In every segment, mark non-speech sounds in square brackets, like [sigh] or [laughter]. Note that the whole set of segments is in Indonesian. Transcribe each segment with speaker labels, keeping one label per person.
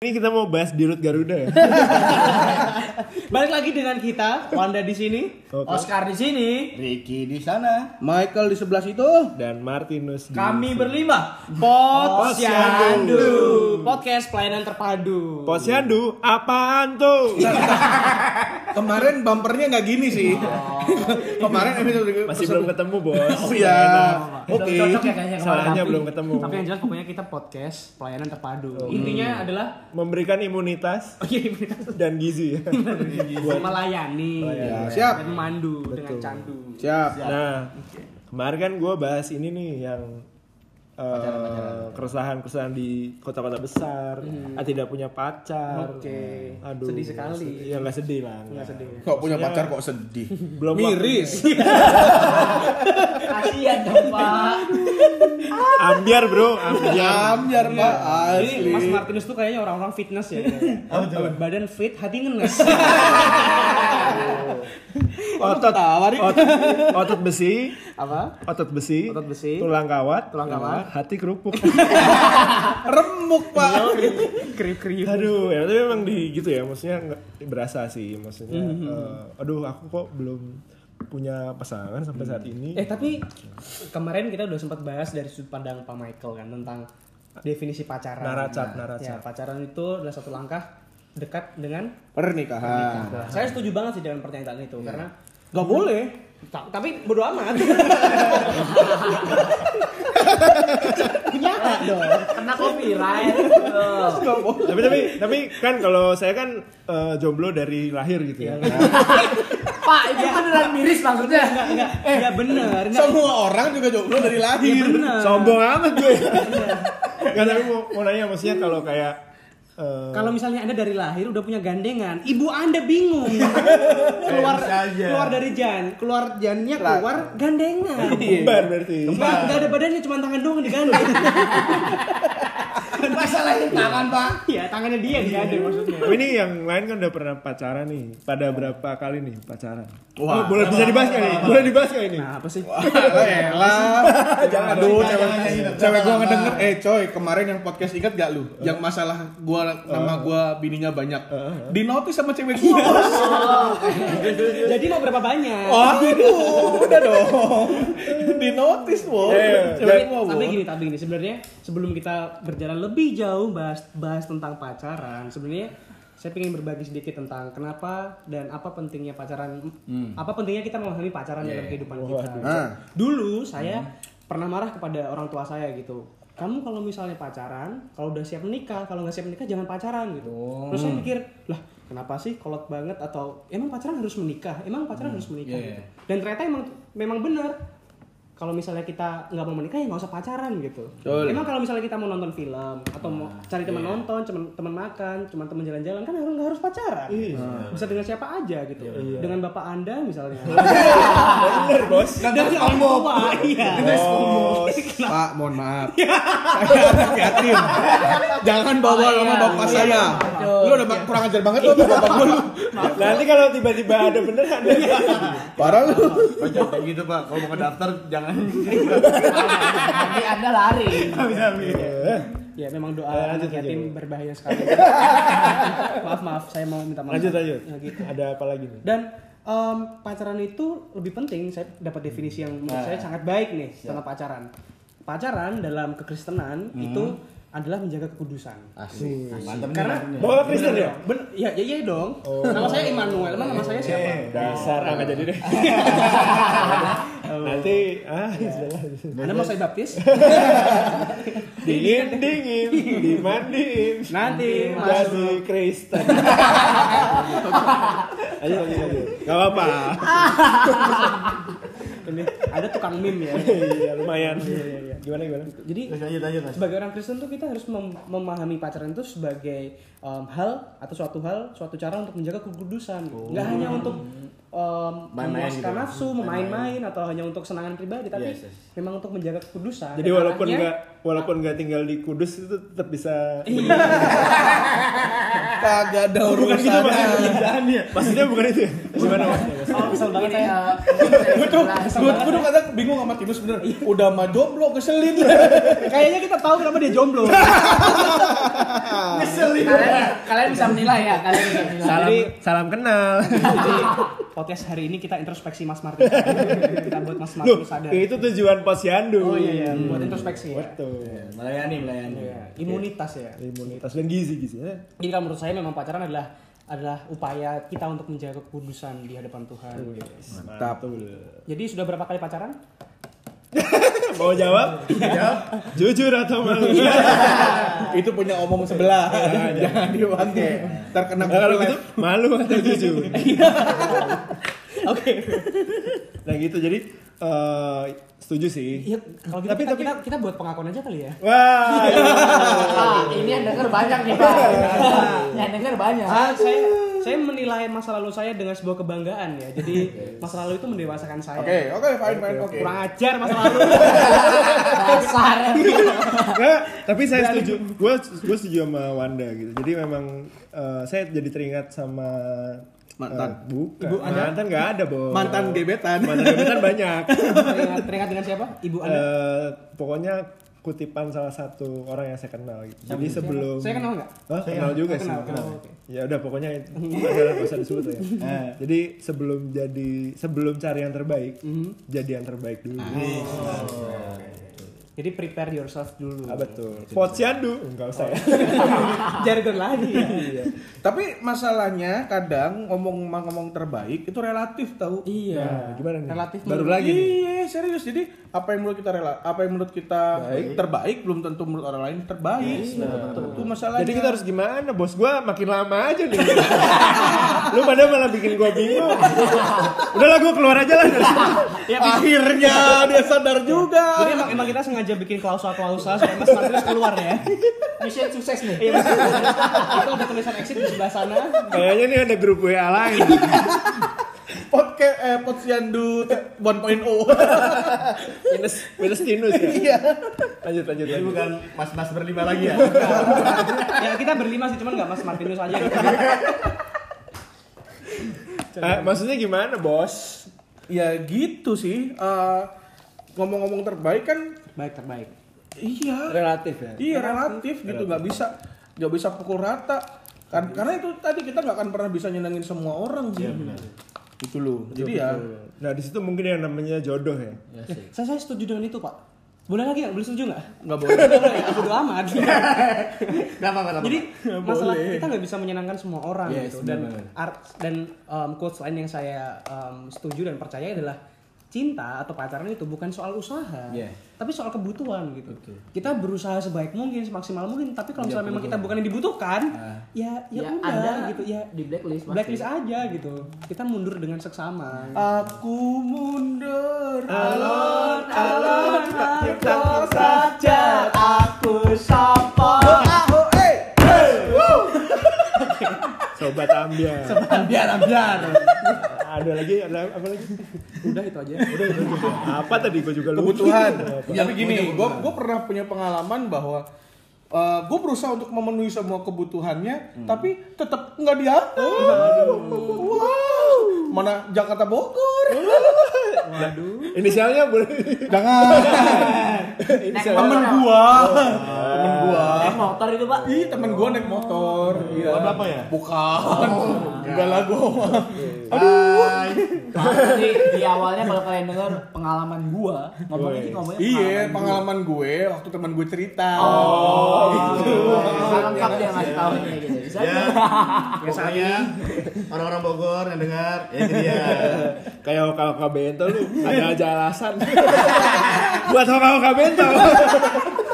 Speaker 1: Ini kita mau bahas dirut Garuda ya.
Speaker 2: Balik lagi dengan kita, Wanda di sini,
Speaker 1: Oke.
Speaker 2: Oscar di sini,
Speaker 3: Ricky di sana.
Speaker 2: Michael di sebelah situ.
Speaker 1: [laughs] Dan Martinus. di-
Speaker 2: Kami berlima Posyandu Podcast pelayanan terpadu
Speaker 1: Posyandu, apaan tuh?
Speaker 3: Kemarin bumpernya nggak gini sih. [laughs] Kemarin episode
Speaker 1: Masih belum ketemu bos. [laughs]
Speaker 3: Oh iya. Oke.
Speaker 4: Cocok ya kayaknya kemarin.
Speaker 1: Salahnya
Speaker 2: Tapi-
Speaker 1: belum ketemu. Oh.
Speaker 2: Tapi yang jelas pokoknya kita podcast pelayanan terpadu
Speaker 1: Hmm.
Speaker 2: Intinya adalah [laughs]
Speaker 1: Memberikan imunitas
Speaker 2: Oh iya, imunitas.
Speaker 1: [laughs] dan gizi. ya. Buat-
Speaker 2: melayani dan
Speaker 3: Ya, siap.
Speaker 2: memandu dengan candu
Speaker 3: Siap.
Speaker 1: Nah, kemarin kan gue bahas ini nih yang eh, keresahan-keresahan di kota-kota besar, ah, tidak punya pacar.
Speaker 2: Oke.
Speaker 1: Aduh.
Speaker 2: Sedih sekali.
Speaker 1: Ya nggak sedih lah. nggak.
Speaker 2: sedih.
Speaker 3: Kok punya pacar kok sedih?
Speaker 1: Belum
Speaker 3: Miris.
Speaker 4: Kasihan dong pak.
Speaker 1: Ambiar bro,
Speaker 3: [laughs] Ya,
Speaker 1: ambiar.
Speaker 3: Amjar Pak
Speaker 2: Jadi
Speaker 3: asli.
Speaker 2: Mas Martinus tuh kayaknya orang-orang fitness ya Badan fit, hati ngenes
Speaker 1: Otot
Speaker 2: Tawari
Speaker 1: otot, otot
Speaker 3: [laughs]
Speaker 1: besi,
Speaker 2: Apa?
Speaker 1: otot besi,
Speaker 2: Otot besi.
Speaker 1: tulang kawat,
Speaker 2: Tulang kawat.
Speaker 1: hati kerupuk.
Speaker 3: Remuk Pak.
Speaker 2: [laughs] Kriuk-kriuk
Speaker 1: aduh, ya tapi memang di gitu ya, maksudnya nggak berasa sih, maksudnya.
Speaker 2: Mhm.
Speaker 1: eh, aduh, aku kok belum punya pasangan sampai saat ini.
Speaker 2: Eh tapi kemarin kita udah sempat bahas dari sudut pandang Pak Michael kan tentang definisi pacaran.
Speaker 1: Naracat,
Speaker 2: Nah,
Speaker 1: naracat.
Speaker 2: Ya, pacaran itu adalah satu langkah dekat dengan
Speaker 3: Pernikahan.
Speaker 2: saya setuju banget sih dengan pernyataan itu karena
Speaker 3: Gak boleh.
Speaker 2: Ta- tapi bodo amat. Nyata dong.
Speaker 4: Kena copyright. Tuh.
Speaker 3: Gak boleh.
Speaker 1: Oh, tapi tapi tapi kan kalau saya kan eh, jomblo dari lahir gitu ya.
Speaker 2: Iya.
Speaker 4: Pak itu kan beneran miris maksudnya.
Speaker 2: Enggak, enggak bener. Enggak
Speaker 3: Semua orang juga jomblo dari [laughs] lahir.
Speaker 2: bener.
Speaker 1: Sombong amat gue.
Speaker 2: Iya.
Speaker 1: Gak tapi mau, mau nanya maksudnya kalau kayak eh,
Speaker 2: Kalau misalnya Anda dari lahir udah punya gandengan, ibu Anda
Speaker 3: [laughs]
Speaker 2: bingung. keluar
Speaker 3: saja.
Speaker 2: keluar dari jan, keluar jannya keluar gandengan.
Speaker 3: Iya,
Speaker 1: kembar berarti.
Speaker 2: Nggak, nggak ada badannya, cuma tangan doang digandeng.
Speaker 3: [laughs] Masalahin tangan Pak.
Speaker 2: Iya, tangannya dia yang digandeng maksudnya.
Speaker 1: Oh, ini yang lain kan udah pernah pacaran nih. Pada berapa kali nih pacaran? Oh,
Speaker 3: Wah.
Speaker 1: boleh bisa dibahas nggak nih? Boleh dibahas nggak ini?
Speaker 2: Nah, apa sih?
Speaker 3: Elah. Jangan aduh cewek cewek gua ngedenger eh coy kemarin yang podcast ingat gak lu yang masalah gua nama gua bininya banyak di notis sama [laughs] cewek gua bos.
Speaker 2: Jadi mau berapa banyak?
Speaker 3: Waduh, udah dong di notis bos
Speaker 1: Eh,
Speaker 3: cewek gua
Speaker 2: Iya, tapi
Speaker 3: bos
Speaker 2: gini, tapi gini sebenarnya sebelum kita berjalan lebih jauh bahas bahas tentang pacaran, sebenarnya saya ingin berbagi sedikit tentang kenapa dan apa pentingnya pacaran, apa pentingnya kita memahami pacaran dalam kehidupan kita.
Speaker 3: Ah.
Speaker 2: Dulu saya pernah marah kepada orang tua saya gitu. Kamu kalau misalnya pacaran, kalau udah siap menikah, kalau nggak siap menikah jangan pacaran gitu. Terus saya mikir, lah kenapa sih kolot banget atau emang pacaran harus menikah, emang pacaran harus menikah gitu. Dan ternyata emang memang benar. Kalau misalnya kita nggak mau menikah ya nggak usah pacaran gitu.
Speaker 3: Betul.
Speaker 2: Emang kalau misalnya kita mau nonton film atau mau cari teman nonton, cuman teman makan, cuman teman jalan-jalan kan harus nggak harus pacaran.
Speaker 1: Iya.
Speaker 2: Bisa dengan siapa aja gitu. Dengan bapak anda misalnya. [laughs]
Speaker 1: Bener bos.
Speaker 2: Dari orang tua, iya.
Speaker 1: [laughs] Bos.
Speaker 3: pak mohon maaf saya anak [laughs] yatim Iya, jangan bawa nama bapak saya lu udah ba- kurang ajar banget lu sama bapak gua lu
Speaker 1: Nanti kalau tiba-tiba ada beneran.
Speaker 3: parah lu
Speaker 5: Jangan gitu pak, kalau mau daftar jangan
Speaker 4: Nanti anda lari.
Speaker 2: [laughs]
Speaker 1: gitu.
Speaker 2: Ya memang
Speaker 1: Eh,
Speaker 2: doa anak yatim berbahaya
Speaker 1: [laughs]
Speaker 2: sekali. maaf maaf, saya mau minta maaf.
Speaker 1: Lanjut lanjut.
Speaker 2: Ya, gitu.
Speaker 1: Ada apa lagi nih?
Speaker 2: Dan em, pacaran itu lebih penting. Saya dapat definisi yang
Speaker 1: Nah.
Speaker 2: menurut saya sangat baik nih
Speaker 1: Ya.
Speaker 2: tentang pacaran. Pacaran dalam kekristenan
Speaker 1: Hmm.
Speaker 2: itu adalah menjaga kekudusan.
Speaker 5: Asik, mantap
Speaker 2: Karena
Speaker 1: Bapak Kristen ya? Oh. Eh,
Speaker 2: Ben, ya, ya, iya dong. Nama saya Immanuel. Emang nama saya siapa? Nah,
Speaker 1: Dasar ah, nggak jadi [laughs] deh. Nanti ah sudahlah.
Speaker 2: Anda mau saya baptis?
Speaker 1: [laughs] Dingin dingin dimandiin.
Speaker 2: Nanti
Speaker 1: Jadi
Speaker 2: masuk.
Speaker 1: Kristen. Ayo lanjut lanjut. Gak apa-apa.
Speaker 2: Ini ada tukang meme ya.
Speaker 1: Iya lumayan. Gimana gimana?
Speaker 2: Jadi
Speaker 5: Lanjut lanjut mas
Speaker 2: sebagai orang Kristen tuh kita harus mem- memahami pacaran itu sebagai um, hal atau suatu hal, suatu cara untuk menjaga kekudusan. Nggak hanya untuk em,
Speaker 5: Oh. Main-main
Speaker 2: memuaskan
Speaker 5: gitu.
Speaker 2: nafsu, memain-main atau hanya untuk kesenangan pribadi, tapi
Speaker 5: Yes, yes.
Speaker 2: memang untuk menjaga kekudusan.
Speaker 1: Jadi
Speaker 2: Dan
Speaker 1: walaupun
Speaker 2: arahnya-
Speaker 1: nggak walaupun nggak tinggal di Kudus itu tetap bisa.
Speaker 2: Iya.
Speaker 3: Kagak ada urusan.
Speaker 1: gitu, Maksudnya, Iya, maksudnya bukan itu. ya? Gimana maksudnya?
Speaker 2: Oh, kesel banget saya.
Speaker 3: Gue tuh, gue gue tuh kadang bingung sama Iya. Timus bener. Udah mah jomblo keselin.
Speaker 2: Kayaknya kita tahu kenapa dia jomblo.
Speaker 5: Ngeselin.
Speaker 4: Kalian, kalian bisa menilai ya, kalian bisa menilai.
Speaker 2: Jadi-
Speaker 1: salam kenal.
Speaker 2: Jadi podcast hari ini kita introspeksi Mas Martin. kita buat Mas
Speaker 1: Loh,
Speaker 2: Martin sadar.
Speaker 1: itu tujuan posyandu.
Speaker 2: Oh iya iya,
Speaker 1: Hmm.
Speaker 2: buat introspeksi ya.
Speaker 1: Betul. Iya.
Speaker 5: Iya, Melayani, melayani.
Speaker 2: Iya, Imunitas ya.
Speaker 1: Imunitas dan gizi-gizi. ya.
Speaker 2: Jadi kalau menurut saya memang pacaran adalah adalah upaya kita untuk menjaga kekudusan di hadapan Tuhan.
Speaker 1: Oh, Mantap.
Speaker 2: Jadi sudah berapa kali pacaran?
Speaker 1: [laughs] Mau jawab? Jujur atau malu?
Speaker 3: Itu punya omong sebelah. [laughs] Jangan dipakai. Ntar
Speaker 1: Nah,
Speaker 3: kena
Speaker 1: kalau gitu
Speaker 3: komplain.
Speaker 1: malu atau jujur?
Speaker 2: Oke.
Speaker 1: Nah gitu jadi eh, setuju sih.
Speaker 2: Iya, kalau gitu
Speaker 1: Tapi-
Speaker 2: kita,
Speaker 1: tapi-
Speaker 2: kita kita buat pengakuan aja kali ya.
Speaker 1: Wah.
Speaker 4: Ah, ini yang denger banyak nih, Pak. Yang denger
Speaker 1: iya.
Speaker 4: banyak.
Speaker 2: Ah, saya saya menilai masa lalu saya dengan sebuah kebanggaan ya. Jadi masa lalu itu mendewasakan saya.
Speaker 3: Oke, oke, fine, fine, oke.
Speaker 2: Kurang ajar masa lalu.
Speaker 1: [laughs]
Speaker 4: Dasar.
Speaker 1: Nggak, tapi saya setuju. Gue gue setuju sama Wanda gitu. Jadi memang eh, saya jadi teringat sama
Speaker 3: Mantan.
Speaker 1: eh, bukan.
Speaker 3: Ibu Anda?
Speaker 1: mantan nggak ada, Bo.
Speaker 3: Mantan gebetan.
Speaker 1: Mantan gebetan banyak. [laughs]
Speaker 2: teringat, teringat dengan siapa? Ibu Anda.
Speaker 1: Eh, pokoknya kutipan salah satu orang yang saya kenal gitu. Jadi sebelum
Speaker 2: Saya kenal nggak?
Speaker 1: Hah, kenal juga sih.
Speaker 2: kenal, kenal,
Speaker 1: Nah,
Speaker 2: oke.
Speaker 1: Ya udah pokoknya itu pacaran nggak usah disebut
Speaker 2: [laughs]
Speaker 1: lah ya. Nah, jadi sebelum jadi sebelum cari yang terbaik,
Speaker 2: Mhm.
Speaker 1: jadi yang terbaik dulu.
Speaker 2: Ah. Jadi prepare yourself dulu.
Speaker 1: Ah, betul. Posyandu enggak usah ya.
Speaker 2: Oh, Jargon lagi ya.
Speaker 1: Iya.
Speaker 3: Tapi masalahnya kadang ngomong ngomong terbaik itu relatif tahu.
Speaker 1: Nah,
Speaker 2: iya.
Speaker 1: gimana nih?
Speaker 2: Relatif
Speaker 1: Baru
Speaker 2: menurut-
Speaker 1: lagi nih.
Speaker 3: Iya, serius. Jadi apa yang menurut kita rela, apa yang menurut kita terbaik belum tentu menurut orang lain terbaik. Nah, Itu masalahnya.
Speaker 1: Jadi kita harus gimana? Bos gua makin lama aja nih. [laughs] Lu pada malah bikin gua bingung. [laughs] Udahlah gua keluar aja
Speaker 2: [laughs]
Speaker 1: lah. dari sini.
Speaker 2: Ya,
Speaker 3: akhirnya dia sadar juga.
Speaker 2: Jadi emang, emang kita sengaja bikin klausa-klausa supaya Mas Martinus keluar ya.
Speaker 4: Mission sukses nih.
Speaker 2: Iya, Mas. Itu ada tulisan exit di sebelah sana.
Speaker 1: Kayaknya nih ada grup WA lain.
Speaker 3: Podcast eh Posyandu 1.0.
Speaker 1: Minus minus minus ya.
Speaker 3: Iya.
Speaker 1: Lanjut lanjut.
Speaker 5: Jadi
Speaker 1: lanjut.
Speaker 5: bukan mas-mas berlima lagi ya?
Speaker 2: Ya kita berlima sih, cuman nggak Mas Martinus aja.
Speaker 1: Eh, maksudnya gimana, Bos?
Speaker 3: Ya gitu sih. Eh, ngomong-ngomong terbaik kan
Speaker 2: Baik terbaik.
Speaker 3: iya.
Speaker 1: Relatif ya.
Speaker 3: Iya relatif gitu nggak bisa nggak bisa pukul rata. Kan, karena itu tadi kita nggak akan pernah bisa nyenengin semua orang
Speaker 1: Iya,
Speaker 3: sih. Gitu loh. Jadi ya
Speaker 1: Nah di situ mungkin yang namanya jodoh ya.
Speaker 5: Iya,
Speaker 2: Saya, saya setuju dengan itu, Pak. Boleh lagi nggak? Boleh setuju nggak?
Speaker 3: nggak boleh.
Speaker 2: Nggak boleh, aku bodo amat.
Speaker 5: Kenapa, kenapa?
Speaker 2: Jadi
Speaker 3: Nggak
Speaker 2: masalah
Speaker 3: boleh.
Speaker 2: kita nggak bisa menyenangkan semua orang
Speaker 5: Yes,
Speaker 2: gitu. Dan
Speaker 5: benar.
Speaker 2: art dan um, quotes lain yang saya um, setuju dan percaya adalah cinta atau pacaran itu bukan soal usaha,
Speaker 5: Yeah.
Speaker 2: tapi soal kebutuhan gitu. Kita berusaha sebaik mungkin, semaksimal mungkin. Tapi kalau misalnya memang kita bukan yang dibutuhkan, ya ya,
Speaker 4: Ya,
Speaker 2: udah
Speaker 4: Anda
Speaker 2: gitu ya.
Speaker 4: di blacklist. Mas.
Speaker 2: Blacklist aja gitu. Kita mundur dengan seksama.
Speaker 3: Aku mundur.
Speaker 2: Alon-alon aku
Speaker 4: saja,
Speaker 2: aku sapa.
Speaker 3: Oh, eh.
Speaker 1: Sobat ambiar.
Speaker 5: ambiar, ambiar.
Speaker 1: ada lagi ada apa lagi?
Speaker 2: Udah itu aja.
Speaker 1: Udah itu aja. Apa tadi gua juga lupa.
Speaker 3: kebutuhan.
Speaker 1: Apa?
Speaker 3: [laughs] Tapi gini, gue gue pernah punya pengalaman bahwa gue berusaha untuk memenuhi semua kebutuhannya, tapi tetap nggak diatur. Oh. Wow, mana Jakarta Bogor? [laughs]
Speaker 1: Inisialnya boleh.
Speaker 3: Jangan
Speaker 1: Inisialnya.
Speaker 3: temen [laughs] gua, temen gua.
Speaker 4: Naik motor itu, Pak.
Speaker 3: Ih, temen gua naik motor. Iya.
Speaker 5: Apa ya?
Speaker 3: Bukan. Enggak lah gua. mah.
Speaker 4: Jadi di awalnya kalau kalian dengar pengalaman gua, ngomong ini ngomongnya
Speaker 3: Iya,
Speaker 4: pengalaman
Speaker 3: pengalaman gue waktu teman gue cerita. Oh.
Speaker 4: gua. Nggak lengkap dia ngasih tahu ini gitu. Bisa
Speaker 5: Ya, pokoknya orang-orang Bogor yang dengar, ya itu dia.
Speaker 1: Nah, Kayak OKOK Bento lu ada aja alasan. Buat OKOK Bento.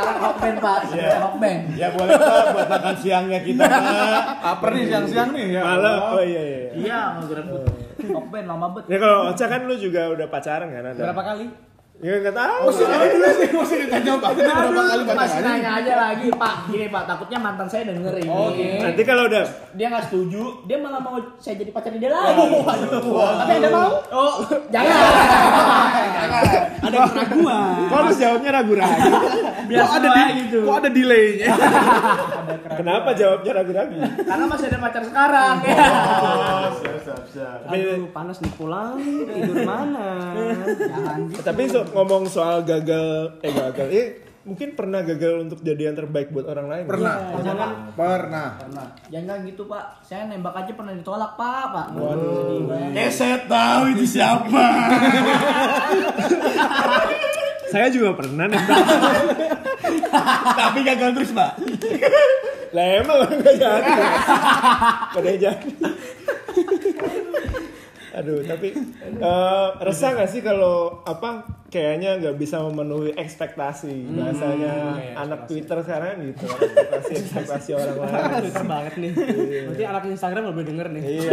Speaker 4: sekarang hokben, Pak.
Speaker 5: Iya.
Speaker 4: Hokben.
Speaker 5: Ya boleh Pak, buat makan siangnya kita Pak.
Speaker 3: Apa nih siang-siang nih ya?
Speaker 1: Malah oh iya iya.
Speaker 4: Iya, ngegerebut. Hokben lama banget.
Speaker 1: Ya kalau Ocha kan lu juga udah pacaran kan ada.
Speaker 2: Berapa kali?
Speaker 1: Ya nggak tahu.
Speaker 3: Masih ditanya sih, masih ditanya banget ini berapa kali
Speaker 4: Masih
Speaker 3: bacaan.
Speaker 4: nanya aja lagi, Pak. Gini, Pak, takutnya mantan saya denger ini.
Speaker 1: Nanti kalau udah
Speaker 4: Dia nggak setuju, dia malah mau saya jadi pacar dia lagi. Tapi Anda mau? Oh, jangan.
Speaker 2: Ada keraguan.
Speaker 1: kok harus jawabnya ragu-ragu.
Speaker 3: Kok ada [laughs] di, kok ada delaynya?
Speaker 1: Kenapa jawabnya ragu-ragu? Eh,
Speaker 4: Karena masih ada pacar sekarang. Ya.
Speaker 5: Oh, siap, siap, siap.
Speaker 2: Aduh, panas nih pulang, tidur mana? Jangan gitu.
Speaker 1: Tapi so- ngomong soal gagal, eh gagal, eh mungkin pernah gagal untuk jadi yang terbaik buat orang lain.
Speaker 3: Pernah.
Speaker 4: [laughs] Jangan
Speaker 3: Pernah.
Speaker 4: jangan gitu, Pak. Saya nembak aja pernah ditolak, Pak, Pak.
Speaker 2: ya.
Speaker 5: Eh, saya tahu itu siapa.
Speaker 1: Saya juga pernah nih.
Speaker 5: Tapi gagal terus, Pak.
Speaker 1: lah emang orang gak jadi. Gak ada yang jadi. Aduh, tapi eh, resah gak sih kalau apa kayaknya nggak bisa memenuhi ekspektasi bahasanya anak Twitter sekarang gitu ekspektasi ekspektasi orang lain.
Speaker 2: Pinter banget nih.
Speaker 4: Iya.
Speaker 2: Berarti anak Instagram gak boleh denger nih.
Speaker 1: Iya.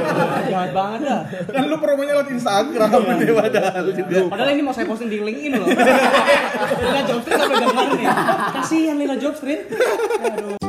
Speaker 2: [laughs] Jahat banget dah.
Speaker 3: Kan lu promonya lewat Instagram ini padahal juga.
Speaker 2: Padahal ini mau saya posting di LinkedIn
Speaker 4: [laughs]
Speaker 2: loh. Lila Jobstreet sampai denger nih. Kasihan Lila Jobstreet. Aduh.